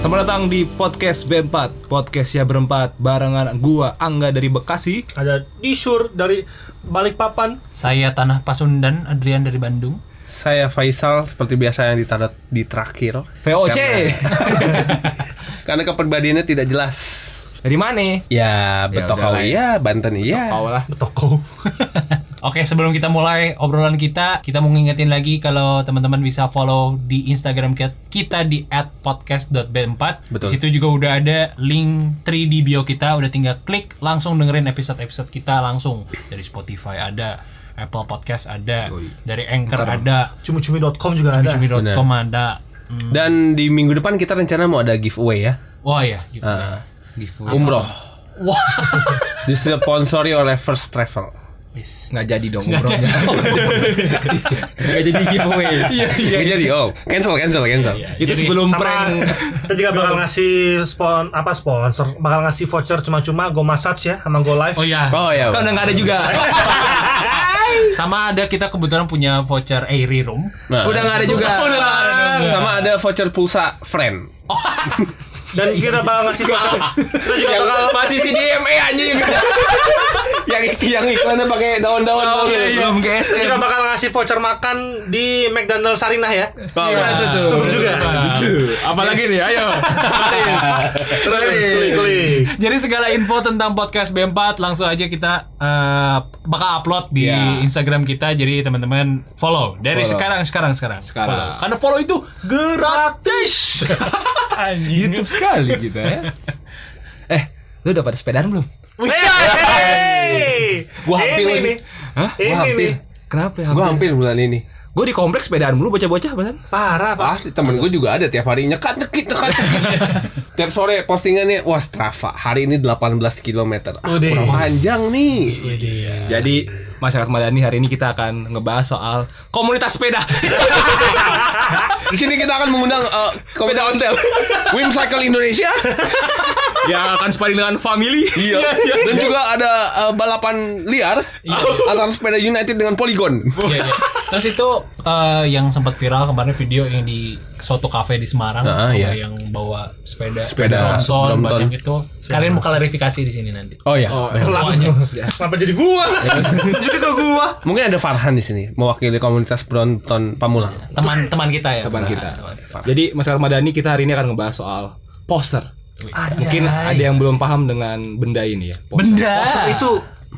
Selamat datang di podcast B4 Podcastnya berempat Barengan gua Angga dari Bekasi ada Disur dari Balikpapan Saya Tanah Pasundan, Adrian dari Bandung. Saya Faisal seperti biasa yang ditaruh di terakhir VOC karena kepribadiannya tidak jelas. Dari mana? Ya, Betokawi udahlah ya, Banten iya. Kau lah Toko. Oke, sebelum kita mulai obrolan kita, kita mau ngingetin lagi kalau teman-teman bisa follow di Instagram kita- kita di @podcast.b4. Betul. Di situ juga udah ada link 3 di bio kita, udah tinggal klik langsung dengerin episode-episode kita langsung dari Spotify ada, Apple Podcast ada, Yoi. dari Anchor ada, cumi-cumi.com juga ada cumi.com ada. Hmm. Dan di minggu depan kita rencana mau ada giveaway ya. Wah ya, gitu. Ah. Giveaway Umroh. Wah. Disponsori oleh First Travel. Wis. Nggak jadi dong umrohnya Nggak jadi giveaway Iya, jadi oh, cancel cancel cancel. Iya, Itu jadi- sebelum sama prank kita juga bakal ngasih spon apa sponsor bakal ngasih voucher cuma-cuma Go Massage ya sama Go Live Oh ya, Oh ya. Kan udah nggak ada juga sama ada kita kebetulan punya voucher Airy Room. Nah. Udah nggak ada juga Udah nggak ada juga. sama ada voucher pulsa friend. dan kita bakal ngasih voucher kita juga bakal Eh, Masih si DME anjing yang yang iklannya pakai daun-daun. Oh, iya, iya. Belum ke kita juga SM bakal ngasih voucher makan di McDonald Sarinah ya Iya, itu tuh. Tutup juga. Nah. Apalagi nih ayo Klik, Terus klik. Jadi segala info tentang podcast B4 langsung aja kita eh, bakal upload di Iya. Instagram kita. Jadi teman-teman follow dari Follow. sekarang sekarang sekarang. Sekarang. Follow. Karena follow itu gratis. Anjing. YouTube sekali kita ya. Eh, lu udah pada sepedaan belum? Hey, Gua hampir ini lagi. nih Hah? Ini Gua hampir. nih. Kenapa ya? Gue hampir? hampir bulan ini. Gue di kompleks sepedaan mulu bocah-bocah bahasan. parah pak Pasti temen gue juga ada tiap hari nyekat nyekit nyekat. nyekit. tiap sore postingannya wah Strava hari ini 18 km. Ah, Udah. kurang panjang nih. Jadi masyarakat Madani hari ini kita akan ngebahas soal komunitas sepeda. Di sini kita akan mengundang eh, sepeda komunitas ontel Wim Cycle Indonesia yang akan sparring dengan family. Iya. dan juga ada eh, balapan liar Iya. antara sepeda United dengan Polygon. Iya, iya. Terus itu eh, yang sempat viral kemarin video yang di suatu kafe di Semarang Ah, iya. yang bawa sepeda Sepeda Brompton. Brompton, banyak itu. Kalian mau klarifikasi di sini nanti. Oh ya. langsung Iya. kenapa jadi gua jadi ke gua Mungkin ada Farhan di sini mewakili komunitas Brompton Pamulang. Teman-teman kita ya. Teman kita. teman kita. Jadi masyarakat Madani kita hari ini akan ngebahas soal poser. Mungkin ada yang belum paham dengan benda ini ya. Poser. Poster itu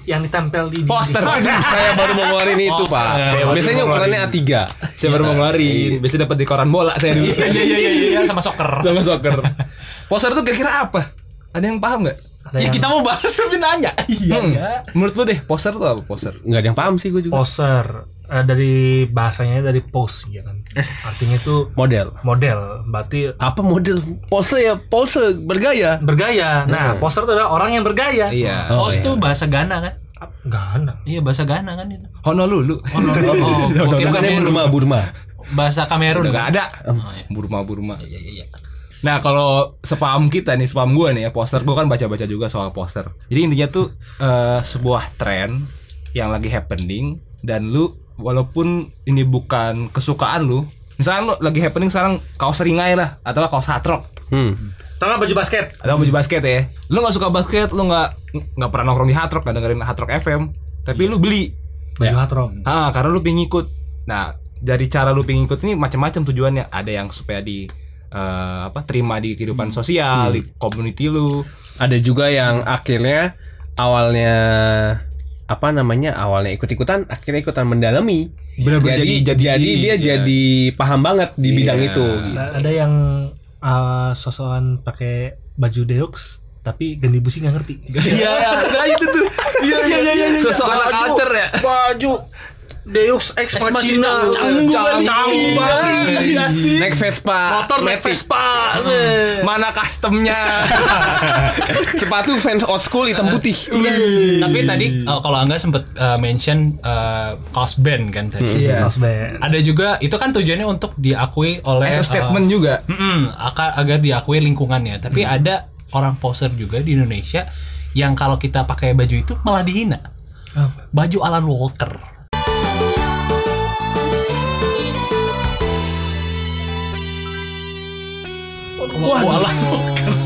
yang ditempel di Poster. Saya baru mau ngeluarin itu, Oh, Pak. saya baru Biasanya mau ukurannya A3. Saya baru mau ngeluarin. Biasanya dapat di koran bola saya dulu. Iya iya iya iya sama soccer. Sama soccer. Poser tuh kira-kira apa? Ada yang paham nggak? Ya, Ada yang mau bahas tapi nanya. Iya. Hmm. Menurut lu deh, poser tuh apa poser? Enggak ada yang paham sih gue juga. poser Eh, dari bahasanya dari pose ya kan artinya itu Model. model berarti apa model pose ya pose bergaya bergaya nah poser itu adalah orang yang bergaya Iya. Oh, Os iya. tuh bahasa Ghana kan? enggak ada Iya bahasa Ghana kan itu. Honolulu. Oh, no, no, oh, gua bukannya kira Kamerun. Burma Burma Bahasa Kamerun. Udah gak ada. Ah, Oh, iya. Burma-burma. Iya, iya, iya. Nah, kalau sepaham kita nih, sepaham gua nih ya, poster gua kan baca-baca juga soal poster. Jadi intinya tuh eh, sebuah tren yang lagi happening dan lu walaupun ini bukan kesukaan lu, misalkan lu lagi happening sekarang kaos ringai lah atau kaos hatrok hmm. tau nggak baju basket atau Hmm. baju basket ya. Lu nggak suka basket, lu nggak nggak pernah nongkrong di hatrok, nggak dengerin hatrok FM, tapi Iya. lu beli baju hatrok Ah, karena lu pengen ikut. Nah, dari cara lu pengen ikut ini macam-macam tujuannya. Ada yang supaya di eh, apa terima di kehidupan sosial, di community lu. ada juga yang akhirnya awalnya apa namanya awalnya ikut ikutan akhirnya ikutan mendalami Benar-benar jadi, jadi- jadi jadi- dia iya. jadi paham banget di Iya. bidang itu gitu. Nah, ada yang eh, sosokan pakai baju deoks tapi gendi busi nggak ngerti Iya, nah itu tuh. Iya, iya, iya, iya. Sosok anak alter ya. baju deoks ex machina canggung banget. Canggung banget. Iya sih. naik Vespa motor naik Matic. Vespa sih. Mana customnya? sepatu fans old school hitam putih Tapi tadi uh, kalau Angga sempet uh, mention uh, kaos band kan tadi. Iya. Mas Ben. Ada juga itu kan tujuannya untuk diakui oleh As a uh, statement juga. Mm-mm, agar, agar diakui lingkungannya. Tapi ada orang poser juga di Indonesia yang kalau kita pakai baju itu malah dihina. Baju Alan Walker. Wah, walah.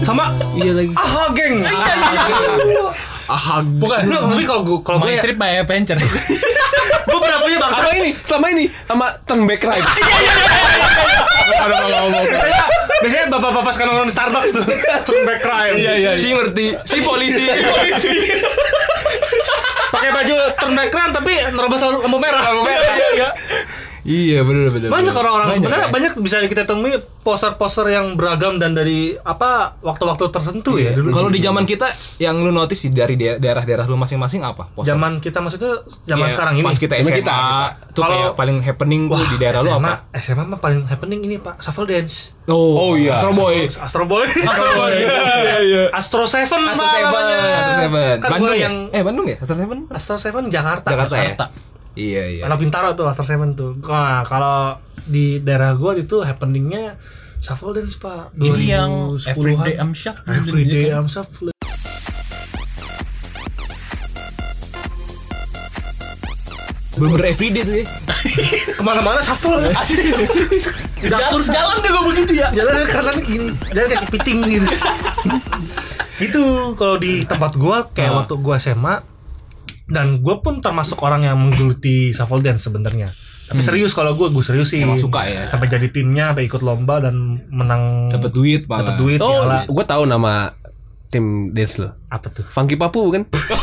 Sama Iya lagi. Aha geng. Aha. iya, bukan. No, tapi kalau gue kalau gue My trip my adventure. gue pernah punya bangsa Sama ini, sama ini, sama turn back right. biasanya biasanya bapak-bapak suka nongkrong di Starbucks tuh turn back crime iya iya si ngerti si polisi polisi pakai baju turn back crime tapi nerobos lampu merah lampu merah iya iya iya benar benar Banyak orang-orang sebenarnya kan? banyak bisa kita temui poster-poster yang beragam dan dari apa waktu-waktu tertentu ya dulu. kalau di zaman kita yang lu notice di- dari daer- daerah-daerah lu masing-masing apa poster? Zaman kita maksudnya Iya, zaman sekarang ini. pas kita Zaman SMA kita. tuh Kalau- kayak paling happening tuh di daerah lu apa SMA, SMA mah paling happening ini Pak, shuffle dance. oh Oh, iya. Astro Boy Astro Boy. iya iya Astro Seven Astro Pak, Seven namanya. Astro Seven Kan Bandung gua ya yang eh Bandung ya Astro Seven Astro Seven Jakarta. Jakarta ya Jakarta. iya iya Anak Bintaro tuh Astro Seven tuh. Nah, kalau di daerah gua itu happeningnya shuffle dance Pak. Ini yang 2010-an. everyday I'm shocked. Everyday I'm shuffle. Bener-bener everyday tuh ya Kemana-mana shuffle. Jalan jalan deh gue begitu ya. jalan kanan gini jalan kayak kepiting gitu itu kalau di tempat gua kayak Ah. waktu gua SMA dan gua pun termasuk orang yang menggeluti shuffle dance sebenarnya tapi Hmm. serius kalau gua gua serius sih Emang suka ya? sampai jadi timnya sampai ikut lomba dan menang Dapat duit malah. dapat duit Oh, piala. gue tahu nama tim dance lo. apa tuh Funky Papu kan? bukan?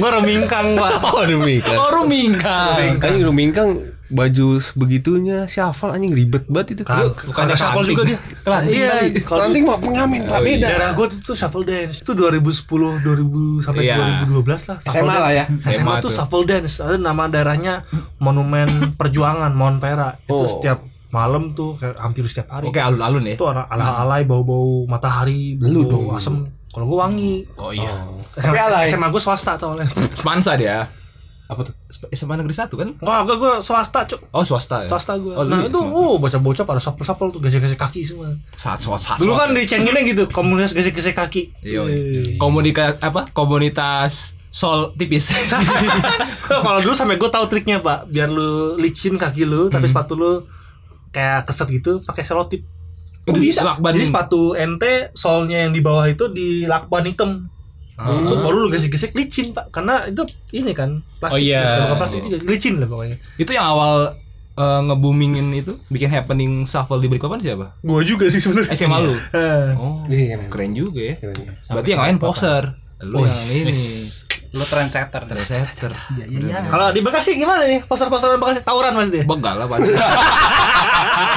gua remingkang pak Oh, Rumingkang. Oh Ah, rumingkang. Anjing Rumingkang baju sebegitunya shuffle anjing ribet banget itu. Lu Kan- bukannya kagak shuffle kelanting. juga dia Kelanting iya kali. kalau di- Nanti mau pengamen, Pak Oh, iya. beda. daerah gua tuh shuffle dance itu 2010 2000 sampai Iya. 2012 lah shuffle SMA dance. lah ya. SMA SMA tuh tuh. shuffle dance ada nama daerahnya Monumen Perjuangan Maun Pera itu Oh. setiap malam tuh kayak hampir setiap hari Oke alun-alun ya itu ala ala alay bau bau matahari bau Lu dong. bau asem kalau gua wangi Oh iya SMA, Tapi alay. SMA gua swasta tuh oleh Semansa dia Apa tuh? Sp- SMA negeri satu kan Wah, gua gua swasta cuk Oh swasta ya swasta Oh, gua lu ya nah itu swasta. oh baca bocah pada sapel sapel tuh gesek gesek kaki semua Saat swasta saat- dulu kan swasta. dicenginnya gitu komunitas gesek gesek kaki Iya, Eh. iya. Komunika apa Komunitas Sol tipis kalau dulu sampai gua tahu triknya pak biar lu licin kaki lu tapi Hmm. sepatu lu kayak keset gitu pakai selotip Aduh, bisa. lakban. Oh, Jadi sepatu ente solnya yang di bawah itu di lakban hitam. Ah. Itu baru lu gesek-gesek licin, Pak. Karena itu ini kan plastik. Oh, iya. Kalau bukan plastik itu licin lah pokoknya. Itu yang awal eh, ngebumingin itu bikin happening shuffle di Balikpapan siapa? Gua juga sih sebenarnya. SMA lu. Eh, Oh, Iya, keren. keren juga ya. Keren. Berarti yang lain poser. Lu yang ini Lu trendsetter. trendsetter. Iya Kalau di Bekasi gimana nih? Poster-posteran Bekasi tawuran Mas deh. Begal lah pasti.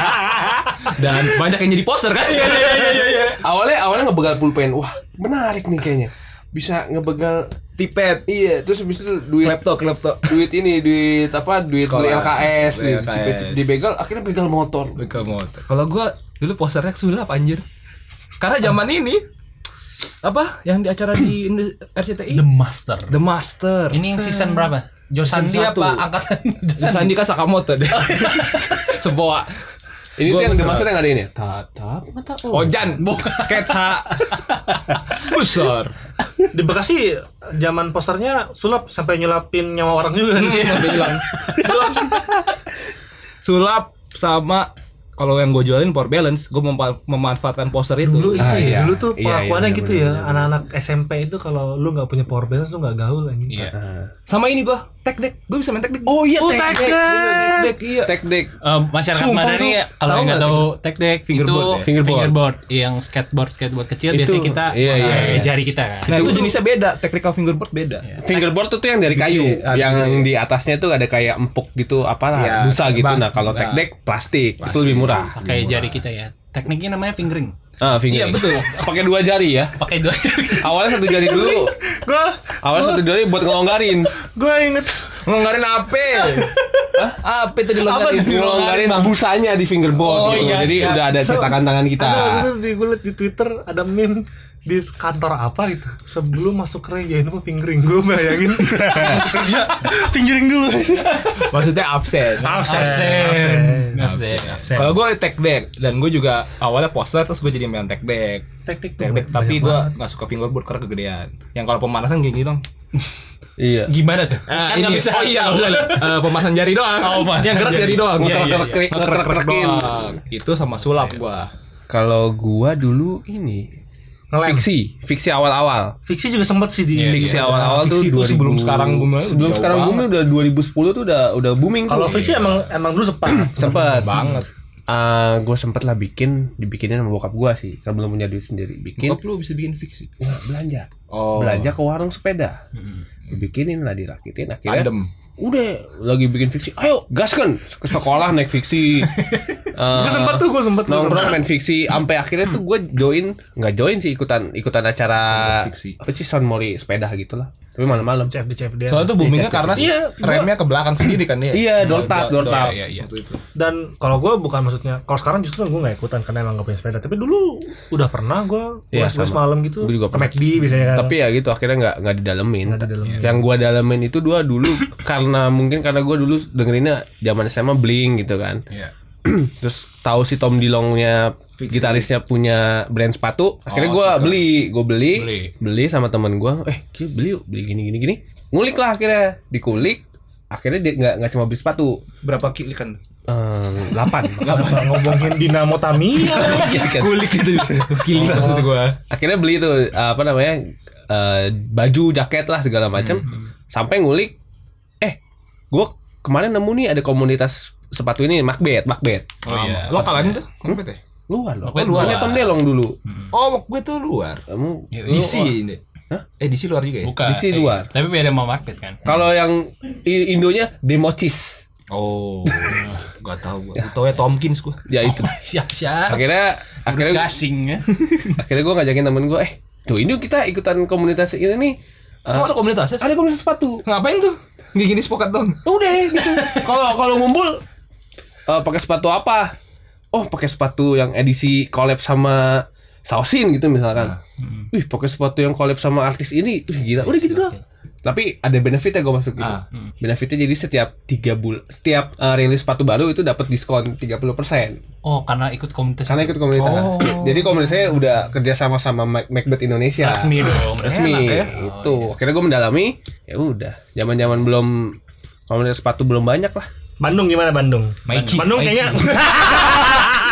Dan banyak yang jadi poser kan? Iya iya iya iya. Awalnya awalnya ngebegal pulpen. Wah, menarik nih kayaknya. Bisa ngebegal Tipet, Iya, terus habis itu duit klepto, klepto. duit ini duit apa duit beli Sekolah. LKS, Beli duit- LKS. dibegal akhirnya begal motor Begal motor. Kalau gua dulu posernya sulap anjir. Karena zaman ini apa yang di acara di Indo- RCTI The Master. The Master. Ini yang season berapa? Season Josandi satu. apa angkatan? Sandi kan Sakamoto deh. Sempoa. ini Gua tuh yang kesel. dimaksud yang ada ini tatap mata Ojan, Oh. bukan sketsa. Besar. Di Bekasi zaman posternya sulap sampai nyulapin nyawa orang juga. Sampai hilang. Sulap. Sulap sama kalau yang gue jualin power balance, gue memanfaatkan poster itu. Dulu itu Ah, ya, iya. dulu tuh Iya, iya, pengakuannya bener, gitu bener, ya. bener. Anak-anak SMP itu kalau lu nggak punya power balance lu nggak gaul lagi. Iya. Sama ini gue, tag deck. Gue bisa main tag deck. oh iya Oh, tek tek-tek. Tag deck, iya. tek dek Eh, masyarakat Sumpah Madani tuh. ya, kalau Tahu yang nggak nggak tahu tek tek Fingerboard itu ya? Fingerboard. fingerboard. yang skateboard skateboard kecil Itu, biasanya kita iya, iya, pakai iya. jari kita kan Nah itu jenisnya beda, technical fingerboard beda. Iya. fingerboard tuh, tuh yang dari kayu Iya, yang iya. di atasnya tuh ada kayak empuk gitu apalah Iya, busa gitu bas- nah kalau tek dek plastik, itu Plastik. lebih murah pakai jari kita ya tekniknya namanya fingering Iya ah finger betul. pakai dua jari ya pakai dua awalnya satu jari dulu Gua awalnya satu jari buat ngelonggarin gua inget Ngelonggarin apa? Hah? Apa itu dilonggarin? ngelonggarin Bang. busanya di fingerboard Oh, gitu iya, jadi siap. udah ada cetakan tangan kita Ada bener di gue liat di Twitter ada meme di kantor apa gitu sebelum masuk kerja itu mah fingering gue bayangin masuk kerja fingering dulu Maksudnya absen. absen absen absen Kalau gue tag deck dan gue juga awalnya poster terus gue jadi main tag deck. teknik Tag deck tapi gue nggak suka fingerboard karena kegedean. Yang kalau pemanasan kayak gini dong. iya gimana tuh kan nggak bisa Oh iya, bukan bukan. Eh, pemanasan jari doang. Oh, pemanasan Yang gerak jari. jari doang. Iya, iya, iya. Ngetrek-ngetrek Ngetrek-ngerekin. doang. Itu sama sulap gua. Kalau gua dulu ini Ngelem. fiksi, fiksi awal-awal. Fiksi juga sempet sih di fiksi iya. awal-awal Fiksi tuh itu 2000 sebelum sekarang booming, Sebelum jauh sekarang booming udah 2010 tuh udah udah booming ya. Kalau tuh. fiksi emang emang dulu sempat. sempet banget. Eh, gua sempet lah bikin dibikinin sama bokap gua sih kan belum punya duit sendiri bikin Bokap lu bisa bikin fiksi. Wah, belanja Oh. belanja ke warung sepeda dibikinin lah dirakitin akhirnya Tandem. udah lagi bikin fiksi ayo gaskan ke sekolah naik fiksi Eh, Gue sempet tuh, gue sempet. gua sempet. nongkrong main fiksi sampai akhirnya tuh gue join nggak join sih ikutan ikutan acara Kontes fiksi. apa sih sound mori sepeda gitu lah tapi malam-malam CFD CFD. Soalnya tuh boomingnya Iya, karena iya, gua- remnya ke belakang sendiri kan dia. Iya, door tap, door tap. Iya, iya, iya. Dan kalau gue bukan maksudnya, kalau sekarang justru gue nggak ikutan karena emang gak punya sepeda. Tapi dulu udah pernah gue Iya, puas-puas sama. malam gitu. Gua juga ke pernah. McD biasanya kan. tapi ya gitu akhirnya nggak nggak didalemin Ya. Nggak didalemin. yang gua dalemin itu dua dulu karena mungkin karena gua dulu dengerinnya zaman SMA bling gitu kan Iya. terus tahu si Tom Dilongnya Fiksi. gitarisnya punya brand sepatu akhirnya Oh, gua sneakers. beli gua beli, Beli. beli sama teman gua eh gila, beli yuk, beli gini gini gini ngulik lah akhirnya dikulik akhirnya dia nggak nggak cuma beli sepatu Berapa kili kan? Ehm, delapan Iya kan? Kenapa ngomongin Dinamo Tamiya? Kulik gitu bisa. Iya. Kili maksud gua. akhirnya beli tuh apa namanya eh, baju jaket lah segala macam Hmm. sampai ngulik eh gua kemarin nemu nih ada komunitas sepatu ini Macbeth Macbeth Oh iya. Lokalan tuh. Kompet ya? luar loh Macbeth luarnya luar. Tom Delong dulu Oh, gue tuh luar. kamu Ya, lu- DC ini. Hah? Eh DC luar juga ya? Bukan. iya. Di sini luar. Tapi beda sama market kan. kalau yang I- Indonya Democis Oh, gak tau gue. Tau ya Tomkins gue. ya itu Siap-siap. akhirnya Oh. akhirnya Terus gasing ya. akhirnya gue ngajakin temen gue eh tuh ini kita ikutan komunitas ini nih Eh, Oh, ada komunitasnya? ada komunitas sepatu Ngapain tuh? Gini-gini sepakat dong. udah gitu kalau kalau ngumpul eh, pakai sepatu apa oh pakai sepatu yang edisi collab sama Sausin gitu Ah, misalkan hmm. wih pakai sepatu yang collab sama artis ini wih gila udah gitu doang tapi ada benefitnya gue masuk gitu Ah, hmm. benefitnya jadi setiap tiga bul setiap eh, rilis sepatu baru itu dapat diskon 30% Oh, karena ikut komunitas. karena ikut komunitas Oh. jadi komunitasnya udah kerja sama sama Mac- Macbeth Indonesia resmi dong. ya. resmi Enak ya. itu akhirnya gue mendalami ya udah zaman zaman belum komunitas sepatu belum banyak lah Bandung gimana Bandung? Maichi. Bandung kayaknya.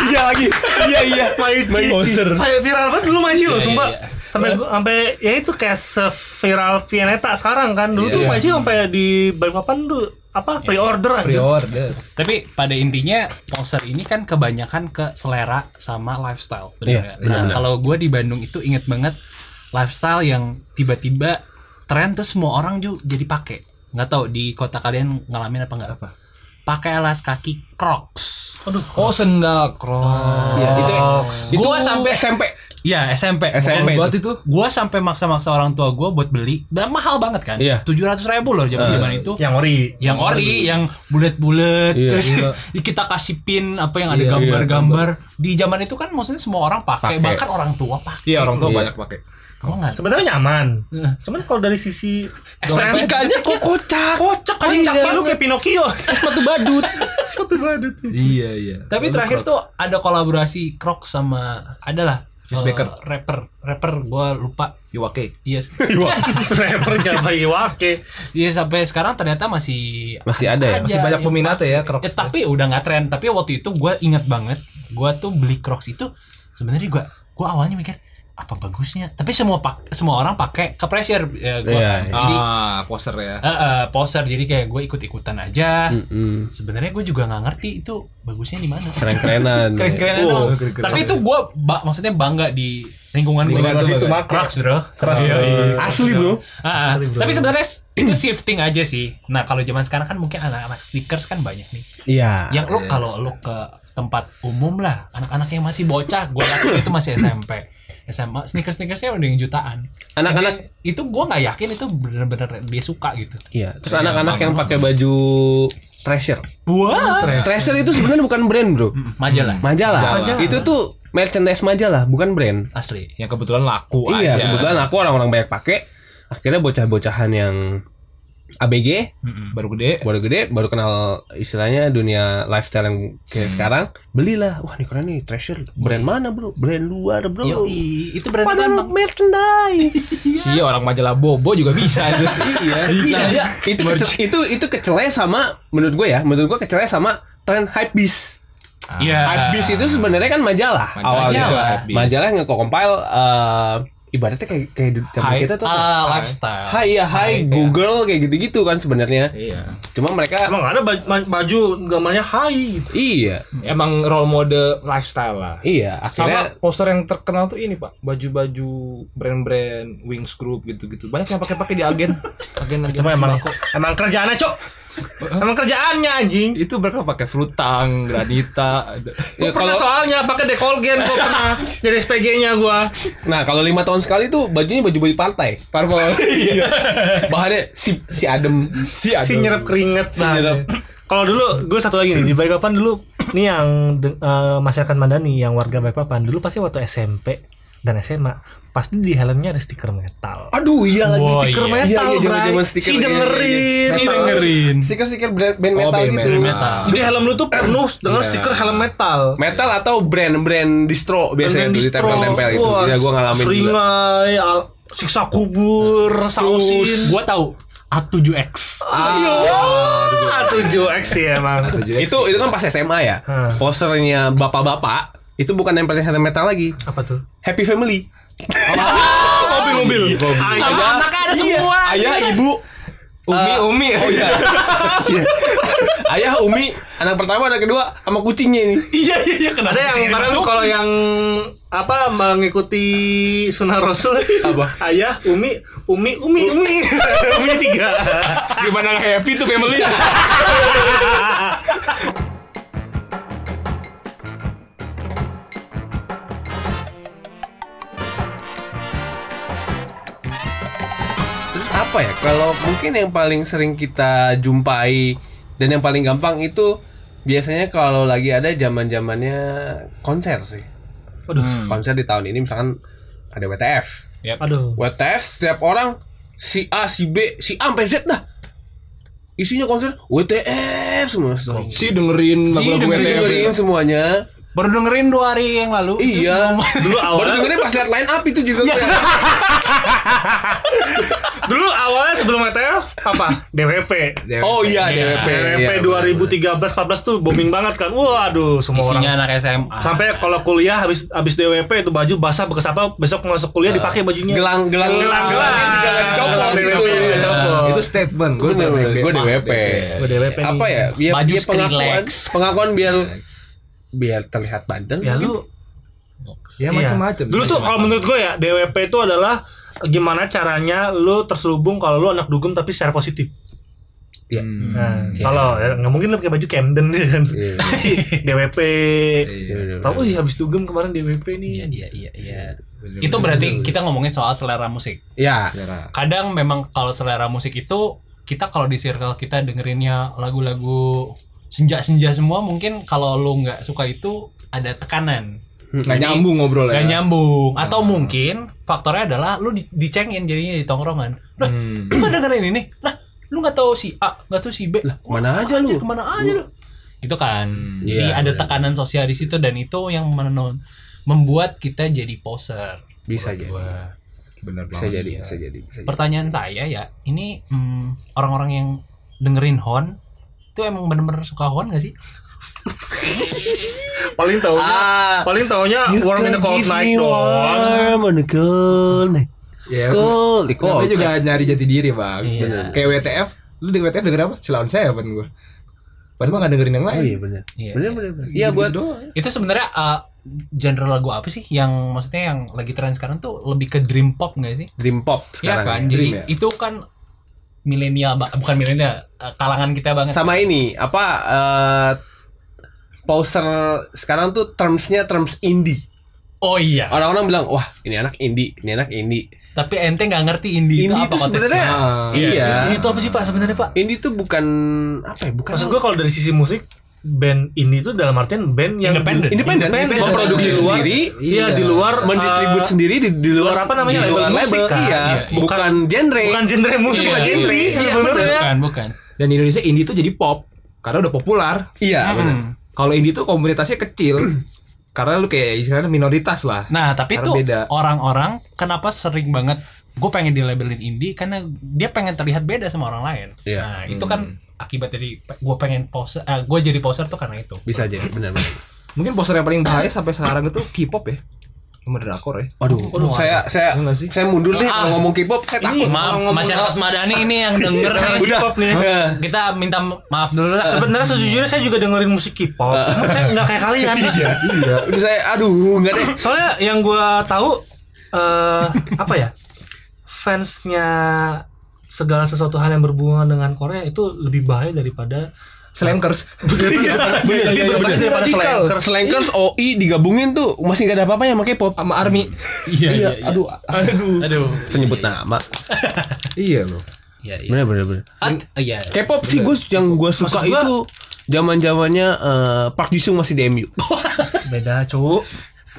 iya lagi iya iya Maichi. Poser. Kayak viral banget dulu Maichi loh, Iya, sumpah. iya, iya. Sampai gua- sampai ya itu kayak se-viral Vianeta sekarang kan. Dulu Iya. tuh Maichi sampai di Balikpapan tuh apa pre-order aja. Pre-order. Tapi pada intinya poser ini kan kebanyakan ke selera sama lifestyle. Benar nggak? iya, Nah, benar. kalau gue di Bandung itu inget banget lifestyle yang tiba-tiba tren terus semua orang juga jadi pakai. Nggak tahu di kota kalian ngalamin apa nggak? Apa? Pakai alas kaki Crocs. Aduh. Oh, sendal cross. Iya, itu- ya. itu Gua sampai sampai- SMP Iya SMP. SMP buat itu. Gua sampai maksa-maksa orang tua gua buat beli. Dan mahal banget kan? Iya. Tujuh ratus ribu loh zaman zaman itu. Yang ori. Yang ori, yang bulat-bulat, Iya, terus iya. kita kasih pin apa yang ada Iya, gambar-gambar. Di zaman itu kan maksudnya semua orang Pakai. pakai, bahkan orang tua pakai. Iya, orang tua Iya. banyak pakai. Tau nggak? Sebenarnya nyaman. Heeh. Cuman kalau dari sisi estetikanya kok kocak kocak aja Kocak lu banget. kayak Pinocchio. sepatu badut Sepatu badut. Iya, iya. Tapi terakhir tuh ada kolaborasi Crocs sama adalah eh, Chris Baker. rapper, rapper gua lupa. Iwake. Iya, Rappernya Bayi Wake. iya sampai sekarang ternyata masih masih ada ya Masih Iya, banyak iya. peminatnya ya Crocs. Ya, tapi udah nggak tren. Tapi waktu itu gue ingat banget, gue tuh beli Crocs itu sebenarnya gue gue awalnya mikir apa bagusnya. Tapi semua pak semua orang pakai ke pressure ya, gua Iya, kan. iya. Jadi Ah, poser ya. eh, eh, poser jadi kayak gue ikut ikutan Hmm. aja. Mm-mm. Sebenarnya gue juga nggak ngerti itu bagusnya di mana. keren-kerenan Keren-keren Oh, dong. keren-keren. Tapi itu gue maksudnya bangga di lingkungan gue. Lingkungan situ, Bangga. pakai. Crocs bro. Keras Iya, banget. asli bro Ah, ah. Asli, bro. tapi sebenarnya s- itu shifting aja sih. Nah kalau zaman sekarang kan mungkin anak-anak sneakers kan banyak nih. iya yang lo iya. Ya, kalau lo ke tempat umum lah anak-anak yang masih bocah gue yakin itu masih SMP SMA sneakers sneakersnya udah yang jutaan anak-anak Jadi, itu gue nggak yakin itu bener-bener dia suka gitu iya terus anak-anak yang pakai baju Treasure Ah. wah Treasure itu sebenarnya bukan brand bro majalah majalah Majalah. itu tuh merchandise majalah bukan brand asli Yang kebetulan laku iya aja. kebetulan aku orang-orang banyak pakai akhirnya bocah-bocahan yang ABG Baru gede. Iya. baru gede baru kenal istilahnya dunia lifestyle yang kayak sekarang belilah wah ini keren nih treasure brand mana bro brand luar bro Yoi, itu berarti padahal merchandise Si orang majalah Bobo juga bisa Ah. itu. iya nah, itu kece- itu itu kecelai sama menurut gue ya menurut gue kecelai sama tren hype beast Iya. Hypebeast itu sebenarnya kan majalah, Majalah. awalnya. Majalah. Hypebeast. Majalah yang nge-compile eh, ibaratnya kayak kayak di zaman kita tuh kayak, Ah, lifestyle. Hai ya hai Hai, Google kayak gitu-gitu kan sebenarnya. Iya. Cuma mereka Emang ada baj- ma- baju gambarnya hai gitu. iya, Emang role model lifestyle lah. iya Sama akhirnya poster yang terkenal tuh ini pak, baju-baju brand-brand Wings Group gitu-gitu banyak yang pakai-pakai di agen, agen agen. Cuma emang emang kerjaannya, Cok. Emang kerjaannya anjing. itu mereka pakai flutang, granita. ada- Oh, Gua ya, pernah kalau soalnya pakai dekolgen gua pernah jadi SPG-nya gua. nah kalau lima tahun sekali tuh bajunya baju-baju partai. Parpol. Bahannya si si adem. si ada. Si nyerap keringet nah. Si nyerap. banget. Kalau dulu gue satu lagi nih di Balikpapan dulu nih yang de- eh, masyarakat Mandani yang warga Balikpapan dulu pasti waktu SMP dan SMA pasti di helmnya ada stiker metal. Aduh iya lagi Wah, stiker iya. metal, Iya, iya, Bray. zaman-zaman stiker, Si iya, iya, iya. dengerin. Si Metal. dengerin. Stiker-stiker brand band metal Oh, band gitu. metal. metal. Jadi helm lu tuh penuh dengan Iya. stiker helm metal. Nah, Metal atau brand-brand distro biasanya Dan tuh distro, ditempel-tempel itu. wah, Iya, gua ngalamin juga. Seringai, al- siksa kubur, sausin. Gua tahu A7X. Ah, 7X sih emang. Iya. Itu itu kan pas SMA ya. Hmm. Posternya bapak-bapak itu bukan nempelin helm metal lagi. Apa tuh? Happy Family. Mobil-mobil. Ayah- ada iya, Ayah, ibu, Umi Eh, Umi. Oh iya. Iya. Ayah, Umi, anak pertama, anak kedua, sama kucingnya ini. Iya iya iya kenapa? Ada yang Jadi kadang masuk? kalau yang apa mengikuti sunnah rasul Apa? ayah umi umi umi umi umi tiga Gimana happy tuh family? Terus apa ya? Kalau mungkin yang paling sering kita jumpai dan yang paling gampang itu biasanya kalau lagi ada zaman zamannya konser sih. aduh Konser di tahun ini misalkan ada WTF. aduh WTF setiap orang si A, si B, si A sampai Z dah. Isinya konser WTF semua. Si dengerin lagu-lagu Oh, Si WTF. dengerin semuanya. Baru dengerin dua hari yang lalu. Iya. dulu Baru awalnya dengerin pas liat line up itu juga. gue. dulu awalnya sebelum ETF apa DWP Oh iya, DWP. DWP Iya, 2013 14 tuh booming banget kan waduh semua Isinya orang anak SMA. Ah. sampai kalau kuliah habis habis DWP itu baju basah bekas apa besok masuk Ah. kuliah dipakai bajunya Gelang, gelang, Ah, gelang gelang Gelang copot DWP, gitu. gelang copot. Iya. Itu statement. Gue DWP. Gue DWP. Gua Iya, DWP nih. Apa ya? Biar, Baju biar pengakuan, Skrillex. pengakuan biar biar terlihat bandel. ya mungkin. lu Ya Iya. macam-macam. Dulu tuh kalau menurut gue ya DWP itu adalah gimana caranya lu terselubung kalau lu anak dugem tapi secara positif. Iya. Hmm. Nah, kalau ya, nggak mungkin lu pakai baju Camden ya kan. Iya. DWP. Iya, iya, Tahu ih habis dugem kemarin DWP nih. Iya iya iya iya. Itu berarti kita ngomongin soal selera musik. Iya. kadang memang kalau selera musik itu kita kalau di circle kita dengerinnya lagu-lagu senja-senja semua mungkin kalau lu nggak suka itu ada tekanan Nggak nyambung ngobrol nggak ya. nyambung atau Ah. mungkin faktornya adalah lu di- dicengin jadinya di tongkrongan lah Hmm. lu nggak dengerin ini lah lu nggak tahu si A nggak tahu si B lah kemana aja lu? kemana aja lu gitu kan Hmm. jadi Iya, ada benar. tekanan sosial di situ dan itu yang menon membuat kita jadi poser Bisa jadi. Wah. Bener Bisa banget jadi, sih, ya. bisa jadi, bisa jadi. pertanyaan saya ya ini hmm, orang-orang yang dengerin hon itu emang bener-bener suka hon gak sih? Paling taunya Ah, paling taunya Warm in the Cold Night doang. warm in the cold night. Ya, Cold, di Namanya cold. juga nyari jati diri bang. Iya. Bener. Kayak WTF, lu denger WTF denger apa? Silon Seven gue. Padahal mah nggak dengerin yang Oh lain. iya benar. Iya. Benar benar. benar. Iya buat Itu sebenarnya eh, genre lagu apa sih yang maksudnya yang lagi tren sekarang tuh lebih ke dream pop gak sih? dream pop sekarang. Iya kan? ya, Jadi dream ya. itu kan milenial ba- bukan milenial eh, kalangan kita banget. Sama ini apa eh poser sekarang tuh termsnya terms indie. Oh iya. Orang-orang bilang wah ini anak indie, ini anak indie. Tapi ente nggak ngerti indie, Indie itu apa itu konteksnya? sebenarnya- Ah, Iya. Indie itu apa sih Pak sebenarnya Pak? Indie tuh bukan apa ya? Bukan Maksud gue kalau dari sisi musik band ini tuh dalam artian band yang Independen. independen, Independen. memproduksi Di luar- sendiri, Iya, di Iya. luar mendistribut eh, sendiri di, di luar luar apa namanya, di label luar musik, label, kan? iya. Iya, bukan, genre. bukan genre musik, Iya, bukan genre iya. sebenarnya. Bukan, bukan. Dan di Indonesia indie tuh jadi pop karena udah populer. Iya, benar. Hmm. Kalau indie tuh komunitasnya kecil karena lu kayak istilahnya minoritas lah. Nah, tapi Karena tuh beda. orang-orang kenapa sering banget gue pengen dilabelin indie karena dia pengen terlihat beda sama orang lain. Iya. Nah, itu Hmm. kan akibat dari gue pengen poser, gue eh, jadi poser tuh karena itu. Bisa jadi benar. benar. Mungkin poster yang paling bahaya sampai sekarang itu K-pop ya. Sama drakor ya. Waduh, Waduh, saya saya Enggak sih? saya mundur deh Ah. kalau ngomong K-pop saya takut. Maaf, masyarakat Madani ini yang denger nih. Udah. Eh. Hah? Kita minta maaf dulu lah. Sebenarnya sejujurnya saya juga dengerin musik K-pop. Cuma saya nggak kayak kalian. Iya. Udah saya aduh enggak deh. Soalnya yang gua tahu eh apa ya? Fansnya segala sesuatu hal yang berhubungan dengan Korea itu lebih bahaya daripada Slankers. Iya, iya, Bener, iya, iya. daripada slankers, slankers OI digabungin tuh masih nggak ada apa-apanya sama K-pop. Sama Army. Iya, iya, iya. aduh, Aduh. Aduh. saya nyebut nama. Iya loh. Iya, iya. Bener bener bener. Ah, iya. K-pop sih gue yang gue suka Maksud gua- itu zaman zamannya Park Ji Sung masih di MU. beda cowok.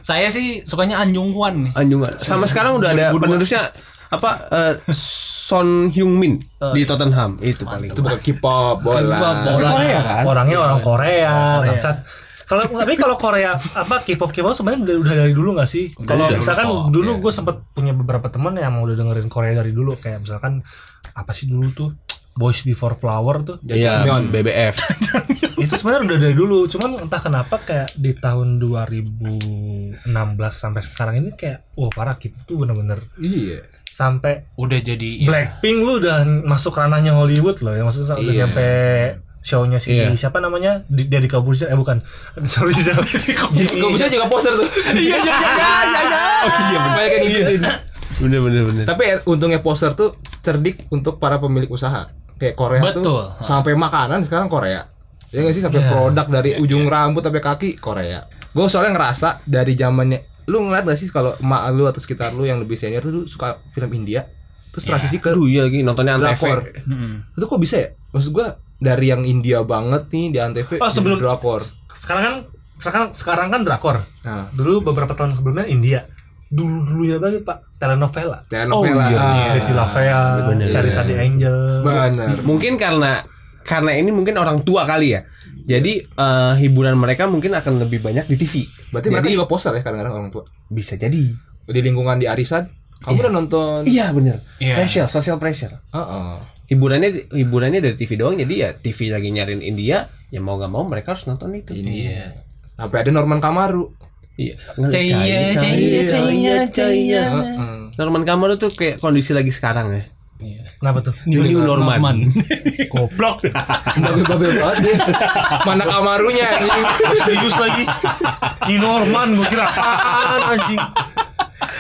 Saya sih sukanya Anjung Hwan nih. Anjungan. Iya. Sama sekarang udah ada penerusnya apa eh, Son Hyung Min Oh, di iya. Tottenham itu paling. Itu bukan K-pop, bola. K-pop, bola. Korea kan? Orangnya orang Korea, bangsat. Kalau tapi kalau Korea apa K-pop K-pop sebenarnya udah, udah dari dulu nggak sih? Udah, Kalau udah. iya. misalkan Udah top, dulu ya. gue sempet punya beberapa teman yang udah dengerin Korea dari dulu kayak misalkan apa sih dulu tuh Boys Before Flower tuh Iya, Jajangmyeon. BBF. itu sebenarnya udah dari dulu cuman entah kenapa kayak di tahun 2016 sampai sekarang ini kayak wah parah K-pop tuh bener-bener Iya. sampai Udah jadi Blackpink lu udah masuk ranahnya Hollywood loh ya maksudnya udah Iya. nyampe show-nya si Iya. siapa namanya Di- dari Kabupaten eh bukan sorry siapa Gak bisa juga poster tuh. Iya, iya, iya, iya. gitu. Iya, banyak yang ngikutin. Bener bener bener. Tapi eh, untungnya poster tuh cerdik untuk para pemilik usaha. Kayak Korea tuh Betul. sampai makanan sekarang Korea. Ya nggak sih sampai Iya. produk dari ujung rambut sampai kaki Korea. Gue soalnya ngerasa dari zamannya lu ngeliat gak sih kalau emak lu atau sekitar lu yang lebih senior tuh dulu suka film India terus transisi ke Aduh iya lagi nontonnya drakor Antv. Hmm. itu kok bisa ya maksud gua dari yang India banget nih di antv Oh, jadi sebelum- drakor sekarang kan sekarang sekarang kan drakor nah dulu beberapa tahun sebelumnya India dulu dulunya banget pak telenovela telenovela. iya, Ah, Betty La bener. Fea, Carita Iya. de Angel bener Mungkin karena karena ini mungkin orang tua kali ya. Jadi eh, hiburan mereka mungkin akan lebih banyak di TV. berarti mereka Jadi- juga poster ya kadang-kadang orang tua Bisa jadi. di lingkungan di arisan kamu Iya. udah nonton Iya bener. Iya. Pressure, social pressure. Heeh. Hiburannya hiburannya dari TV doang. Jadi ya TV lagi nyariin India. Ya mau gak mau mereka harus nonton itu. ini Iya. sampai ada Norman Kamaru Iya. Caya, caya, caya, caya. Heeh. ya, Norman Kamaru tuh kayak kondisi lagi sekarang ya. kenapa tuh New, New Norman. Iya. goblok babe-babe banget dia mana Kamarunya anjing? serius lagi ini Norman gue kira apaan anjing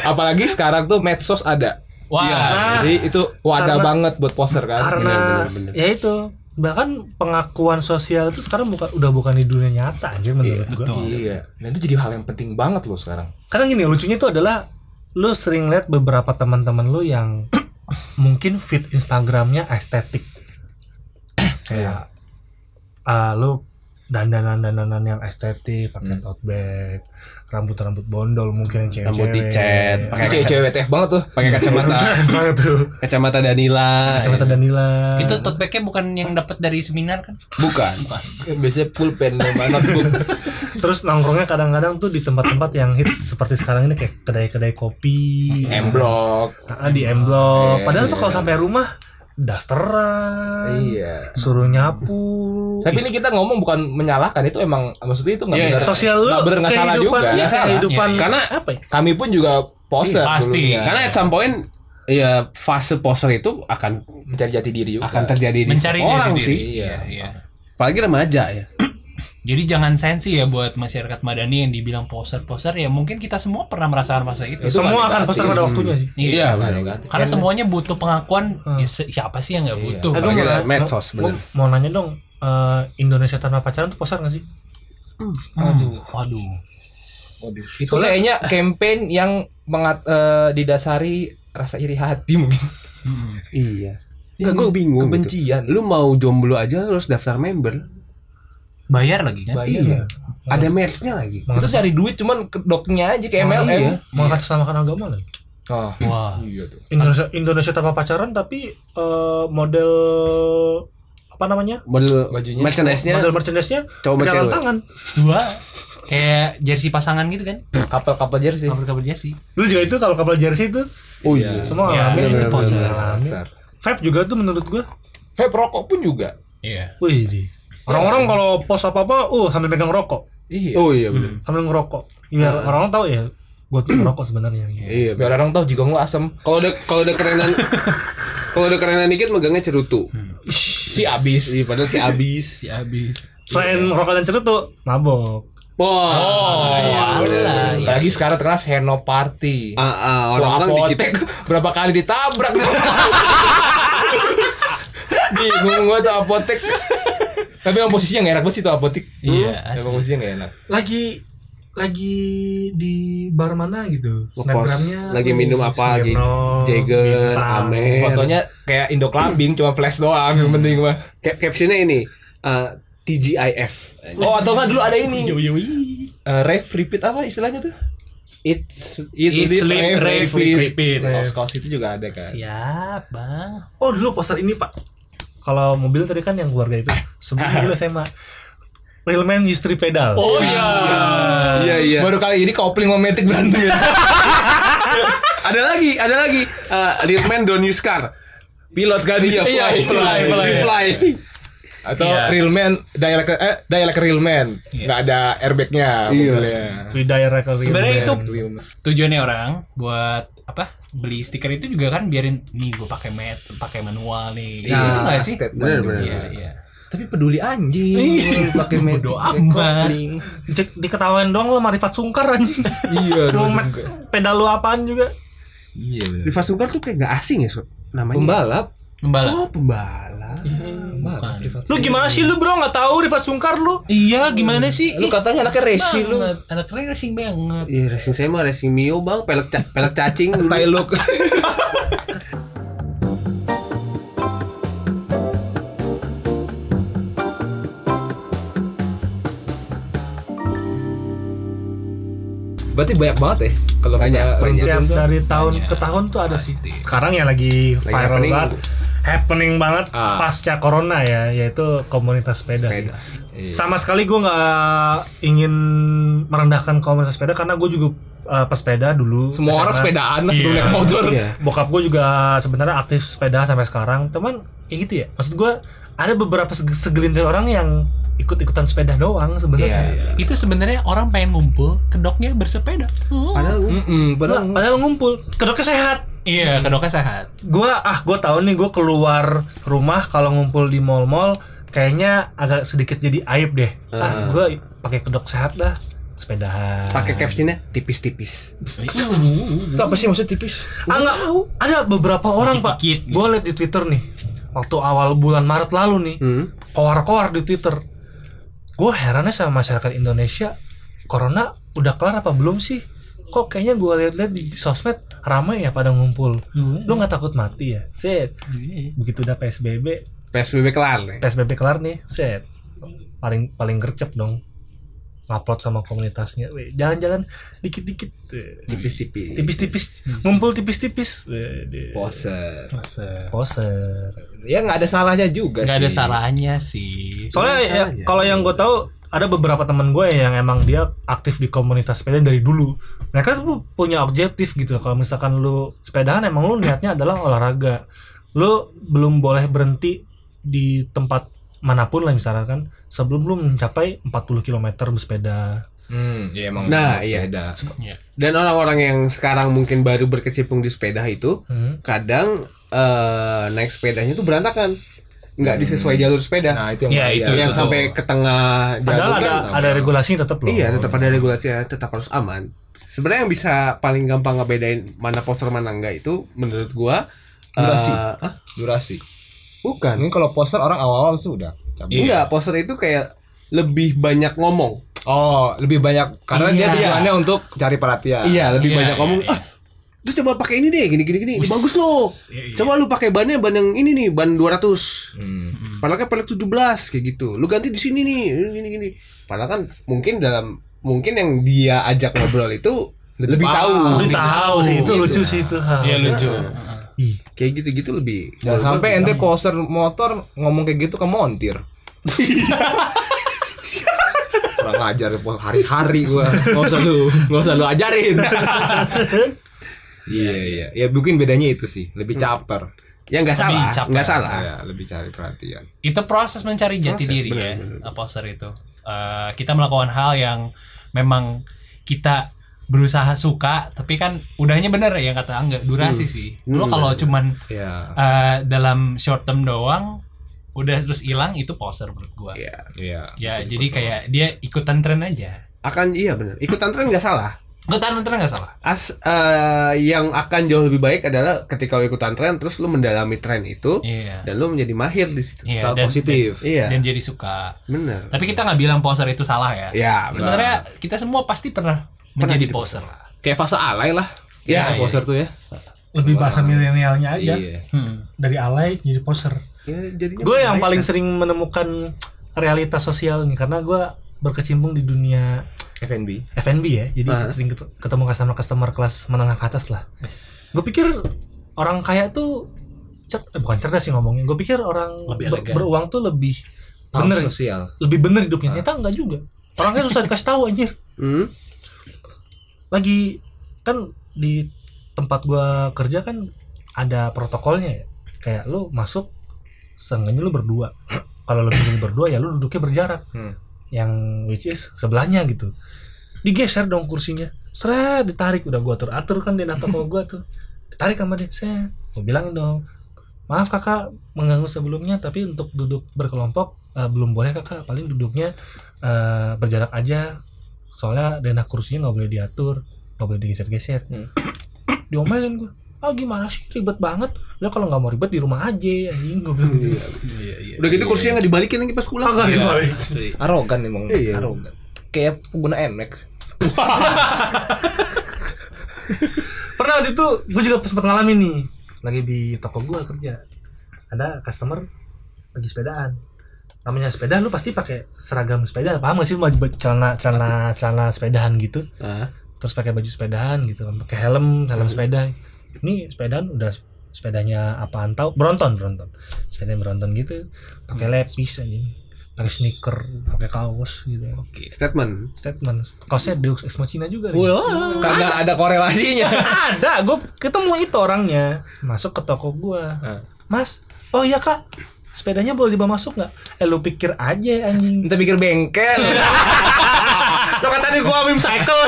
apalagi sekarang tuh medsos ada Wah. Iya. jadi itu wadah Karena- banget buat poster kan karena bener, bener. ya itu bahkan pengakuan sosial itu sekarang bukan udah bukan di dunia nyata aja menurut Iya, gua. betul. iya nah itu jadi hal yang penting banget loh sekarang Karena gini lucunya itu adalah lu sering lihat beberapa teman-teman lu yang mungkin feed Instagramnya estetik kayak ah, lu dandanan dandanan yang estetik Hmm. pakai tote bag rambut rambut bondol mungkin yang cewek Rambut dicet, itu Pakai cewek-cewek WTF banget tuh Pakai kacamata banget tuh kacamata Danila. Ah, ya. kacamata iya. Danila Itu tote bag-nya bukan yang dapat dari seminar kan? bukan biasanya pulpen sama notebook terus nongkrongnya kadang-kadang tuh di tempat-tempat yang hits seperti sekarang ini kayak kedai-kedai kopi M-Block Ah, di M Block. Iya, Padahal tuh iya. kalau sampai rumah dasteran, Iya. suruh nyapu. Tapi ini kita ngomong bukan menyalahkan itu emang maksudnya itu nggak Iya, benar. sosial lu nggak benar nggak salah juga. kehidupan, iya, Nggak salah. kehidupan Iya, karena- apa ya? Kami pun juga poser Iya, pasti. dulunya. Karena at some point ya fase poser itu akan mencari jati diri juga. Iya, akan terjadi di Mencari setiap orang diri sih. diri. Iya, iya. Apalagi remaja ya. Jadi jangan sensi ya buat masyarakat Madani yang dibilang poser-poser ya mungkin kita semua pernah merasakan masa itu. Itu Semua nggak Hmm, akan negatif. poster pada waktunya sih. Iya. Iya, Nggak benar. kan? negatif. Karena semuanya butuh pengakuan, Hmm. ya, si- siapa sih yang nggak Iya. butuh? Eh, gua Apalagi mau ada nanya- medsos, gua bener. mau nanya dong, eh, Indonesia tanpa pacaran tuh poster nggak sih? Aduh, aduh. itu kayaknya campaign yang mengat, eh, didasari rasa iri hati mungkin. gitu. Hmm. Iya. Enggak gue bingung gitu. Kebencian. Lu mau jomblo aja lu harus daftar member. Bayar lagi kan? Bayar. Iya. Ada merchnya lagi. Itu cari duit cuman ke doknya aja kayak Oh, MLM. iya. Mengangkat keselamatan agama lah. Oh, Wah. iya tuh. Indonesia Indonesia tanpa pacaran tapi eh, model apa namanya? Model Bajunya. merchandise-nya Model merchandise-nya Oh, cowok sama pegangan cewek. tangan. Dua. Kayak jersey pasangan gitu kan? Kapal-kapal jersey. Kabel-kabel jersey. Lu juga itu kalau kapal jersey itu Oh Iya. iya. semua Oh, Iya, ngalamin, bener, itu bener, poster. bener. ngalamin. Vape juga tuh menurut gua Vape rokok pun juga. Iya. Ya. Wih, di. Orang-orang kalau pos apa-apa, uh sambil pegang rokok. Iya. Oh iya benar. Sambil ngerokok. Biar Ah. orang tahu ya, gue tuh ngerokok sebenarnya. Iya. Biar orang tahu juga nggak asem. Kalau udah kalau udah kerenan kalau udah kerenan dikit megangnya cerutu. Si abis. Iya, padahal si abis. Si abis. Selain ngerokok dan cerutu, Iya. mabok. Wah. Oh, iya, alah, bener. iya. Apalagi sekarang terkenal Seno Party. Ah, ah, orang-orang Orang dikit. apotek berapa kali ditabrak. Bingung gue tuh apotek. Tapi emang posisinya nggak enak banget sih tuh apotek. Iya, Hmm, asli. Emang posisinya nggak enak. Lagi lagi di bar mana gitu? Ngepost. Lagi minum apa lagi? Snapgram-nya Jagger, bintang. Amer. Fotonya kayak Indo Clubbing, cuma flash doang yang penting mah. Cap- captionnya ini eh, TGIF. Oh atau nggak dulu ada ini Yo, yo, yo. Eh, Rave repeat apa istilahnya tuh? It's Eat, Sleep, Rave, Repeat. Kaos kaos itu Nah, juga ada kan. Siap, Bang. Oh dulu poster ini pak. Kalau mobil tadi kan yang keluarga itu sebelum dulu SMA. Real man used three pedal. Oh iya. Iya iya. Nah, Baru kali ini kopling sama Matic berantem ya. Ada lagi, ada lagi. Eh, Real men don't use car. Pilot kan Iya, fly, fly, fly, fly. Atau Iya. real man dialek eh dialek real man. Enggak ada airbagnya Iya. mobilnya. We direct a real Sebenarnya man. itu Real man. tujuannya orang buat apa? Beli stiker itu juga kan biarin nih gue pakai mat, pakai manual nih. Iya, itu nggak sih? statement. Bener, bener. Iya, iya. Tapi peduli anjing pakai Matic. Bodo amat. Cek diketawain doang lo marifat sungkar anjing. Iya, Lu dosen met- gue. pedal lu apaan juga? Iya. bener. Riva Sungkar tuh kayak gak asing ya, Sob? Namanya. Pembalap. Membalap. Oh, pembalap. Pembalap. bukan. Lu gimana sih lu bro nggak tahu Rifat Sungkar lu? Iya, gimana sih? Lu Ih, katanya anaknya resi lu. banget. Anak racing banget. Iya, racing saya mah racing Mio, Bang. Pelek ca- pelek cacing. Tai lu. Berarti banyak banget ya kalau kita Banyak, banyak. runtutin Tiap tuh. dari tahun Banyak. ke tahun tuh ada sih. Pasti. Sekarang ya lagi Lagi viral happening. banget. Happening banget Ah. pasca corona ya, yaitu komunitas sepeda. sih. Sepeda. Iya. sama sekali gue nggak ingin merendahkan komunitas sepeda karena gue juga uh, pesepeda dulu Semua orang SMA. sepedaan lah sebelum Iya. naik motor. Iya. bokap gue juga sebenarnya aktif sepeda sampai sekarang teman kayak gitu ya maksud gue ada beberapa seg- segelintir orang yang ikut-ikutan sepeda doang Iya. sebenarnya Itu sebenarnya orang pengen ngumpul, kedoknya bersepeda. Oh. Padahal gua- Mm-mm, padahal- padahal, padahal ngumpul kedoknya sehat Iya, kedoknya sehat. gue ah gue tahu nih gue keluar rumah kalau ngumpul di mall-mall kayaknya agak sedikit jadi aib deh ah Ah. gue pakai kedok sehat dah sepedahan pakai captionnya tipis-tipis. Itu apa sih maksudnya tipis? Ah, nggak. ada beberapa orang pak Dikit-dikit. gue liat di twitter nih waktu awal bulan maret lalu nih Hmm. koar-koar di twitter gue herannya sama masyarakat Indonesia corona udah kelar apa belum sih kok kayaknya gue liat-liat di, di sosmed ramai ya pada ngumpul lu nggak takut mati ya set begitu udah psbb PSBB kelar nih. psbb kelar nih set paling paling gercep dong upload sama komunitasnya Weh, jalan-jalan dikit-dikit Weh, Tipis-tipis. tipis-tipis ngumpul tipis-tipis Weh, di- Poser. poser Ya nggak ada salahnya juga Gak sih. ada salahnya sih. Soalnya Iya, ya, iya. kalau yang gue tahu ada beberapa teman gue yang emang dia aktif di komunitas sepeda dari dulu. Mereka tuh punya objektif gitu. Kalau misalkan lu sepedahan emang lu niatnya adalah olahraga. Lu belum boleh berhenti di tempat manapun lah misalkan sebelum lu mencapai 40 km bersepeda. Hmm, iya emang. Nah, emang iya. sepeda. Dan orang-orang yang sekarang mungkin baru berkecimpung di sepeda itu, Hmm. kadang eh, naik sepedanya tuh berantakan nggak disesuai jalur sepeda Nah, itu yang Ya, bahaya. itu yang betul. sampai ke tengah jalur Padahal ada Oh. kan ada regulasi tetap loh. iya tetap ada regulasi ya tetap harus aman sebenarnya yang bisa paling gampang ngebedain mana poster mana enggak itu menurut gua eh, Durasi. ah, durasi. bukan Mungkin kalau poster orang awal-awal sudah cabut. enggak Iya. poster itu kayak lebih banyak ngomong Oh, lebih banyak karena dia Iya. tujuannya untuk cari perhatian. iya lebih Iya, banyak iya, ngomong iya. ah lu coba pakai ini deh gini gini gini Wih. bagus loh Iya, iya. coba lu pakai bannya ban yang ini nih ban 200 Hmm. Padahal kan pelek 17 kayak gitu. Lu ganti di sini nih, gini gini. Padahal kan mungkin dalam mungkin yang dia ajak ngobrol itu lebih, Lebih tahu. paham. Lu tahu sih itu Gitu. lucu sih itu. Ha. Iya lucu. Ih, Kayak gitu-gitu lebih. Jangan Menurut sampai gua ente lebih poster motor ngomong kayak gitu ke montir. Kurang ajar po- hari-hari gua. Enggak usah lu, enggak usah lu ajarin. Iya, iya. Ya mungkin bedanya itu sih, lebih caper. gampang. Ya nggak Lebih salah, capek. nggak salah. Ya, lebih cari perhatian. itu proses mencari jati Proses, diri bener, ya bener. poster itu Eh, kita melakukan hal yang memang kita berusaha suka tapi kan udahnya bener ya yang kata angga durasi sih dulu Hmm, kalau bener. cuman Iya. eh, dalam short term doang udah terus hilang itu poster menurut gua Iya. Iya. ya Ikut-ikut jadi kayak dia ikutan tren aja Akan iya benar. Ikutan tren nggak salah. ikutan tren nggak salah As eh, yang akan jauh lebih baik adalah ketika lu ikutan tren terus lu mendalami tren itu iya dan lu menjadi mahir di situ. Iya, Sangat dan- positif. Iya. dan jadi suka bener. tapi kita nggak bilang poser itu salah ya Ya, bener. sebenarnya kita semua pasti pernah, Pernah menjadi jadi poser Kayak fase alay lah. Iya, Ya, poster tuh ya. Lebih bahasa milenialnya aja. Iya. Hmm. Dari alay jadi poser. Ya, Iya, jadinya Gue yang baik, paling kan? sering menemukan realitas sosial nih karena gue berkecimpung di dunia F&B. F&B ya. Jadi Ah. sering ket- ketemu customer-customer kelas menengah ke atas lah. Bes. Gue pikir orang kaya tuh cer- eh, bukan cerdas sih ngomongnya. Gue pikir orang Lebih ber- elegan. beruang tuh lebih Paham bener, sosial. lebih bener hidupnya. Ah. Ternyata enggak juga. Orangnya susah dikasih tahu anjir. Hmm? lagi kan di tempat gua kerja kan ada protokolnya ya. Kayak lu masuk seenggaknya lu berdua. Kalau lebih dari berdua ya lu duduknya berjarak. Hmm. Yang which is sebelahnya gitu. Digeser dong kursinya. Seret ditarik udah gua atur-atur kan dia nato sama gua tuh. Ditarik sama dia. Saya gua bilangin dong. Maaf kakak mengganggu sebelumnya tapi untuk duduk berkelompok eh, belum boleh kakak paling duduknya eh, berjarak aja soalnya denah kursinya nggak boleh diatur nggak boleh digeser-geser Hmm. diomelin gue ah gimana sih ribet banget lo kalau nggak mau ribet di rumah aja anjing gue bilang gitu Iya. Iya, iya. Udah gitu kursinya nggak dibalikin lagi pas pulang. Kagak dibalikin. arogan emang Iya. arogan. Kayak pengguna NX. pernah waktu itu gue juga sempat ngalamin nih lagi di toko gue kerja ada customer lagi sepedaan namanya sepeda lu pasti pakai seragam sepeda paham gak sih lu baju- celana celana celana sepedaan gitu Ah, terus pakai baju sepedaan gitu kan pakai helm helm sepeda ini sepedaan udah sepedanya apaan tau Bronton Bronton sepedanya Bronton gitu pakai lepis aja pakai sneaker pakai kaos gitu Oke, statement. statement kaosnya Deus Ex Machina juga nih. Wah, kagak ada korelasinya. ada gue ketemu itu orangnya masuk ke toko gua Hah. mas oh iya kak sepedanya boleh dibawa masuk nggak eh lu pikir aja anjing Kita pikir bengkel. lo kan tadi gua mim cycle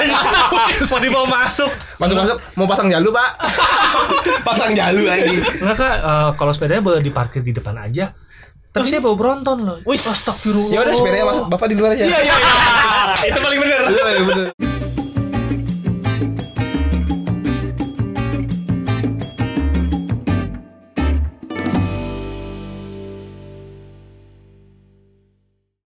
mau dibawa masuk Masuk-masuk mau pasang jalu, Pak. Pasang jalu lagi. Enggak kak, eh, kalau sepedanya boleh diparkir di depan aja. Tapi saya bawa Oh, Bronton loh. Wih, astagfirullah. Ya udah sepedanya masuk, Bapak di luar aja. Iya, iya, iya. Itu paling bener. Iya, bener.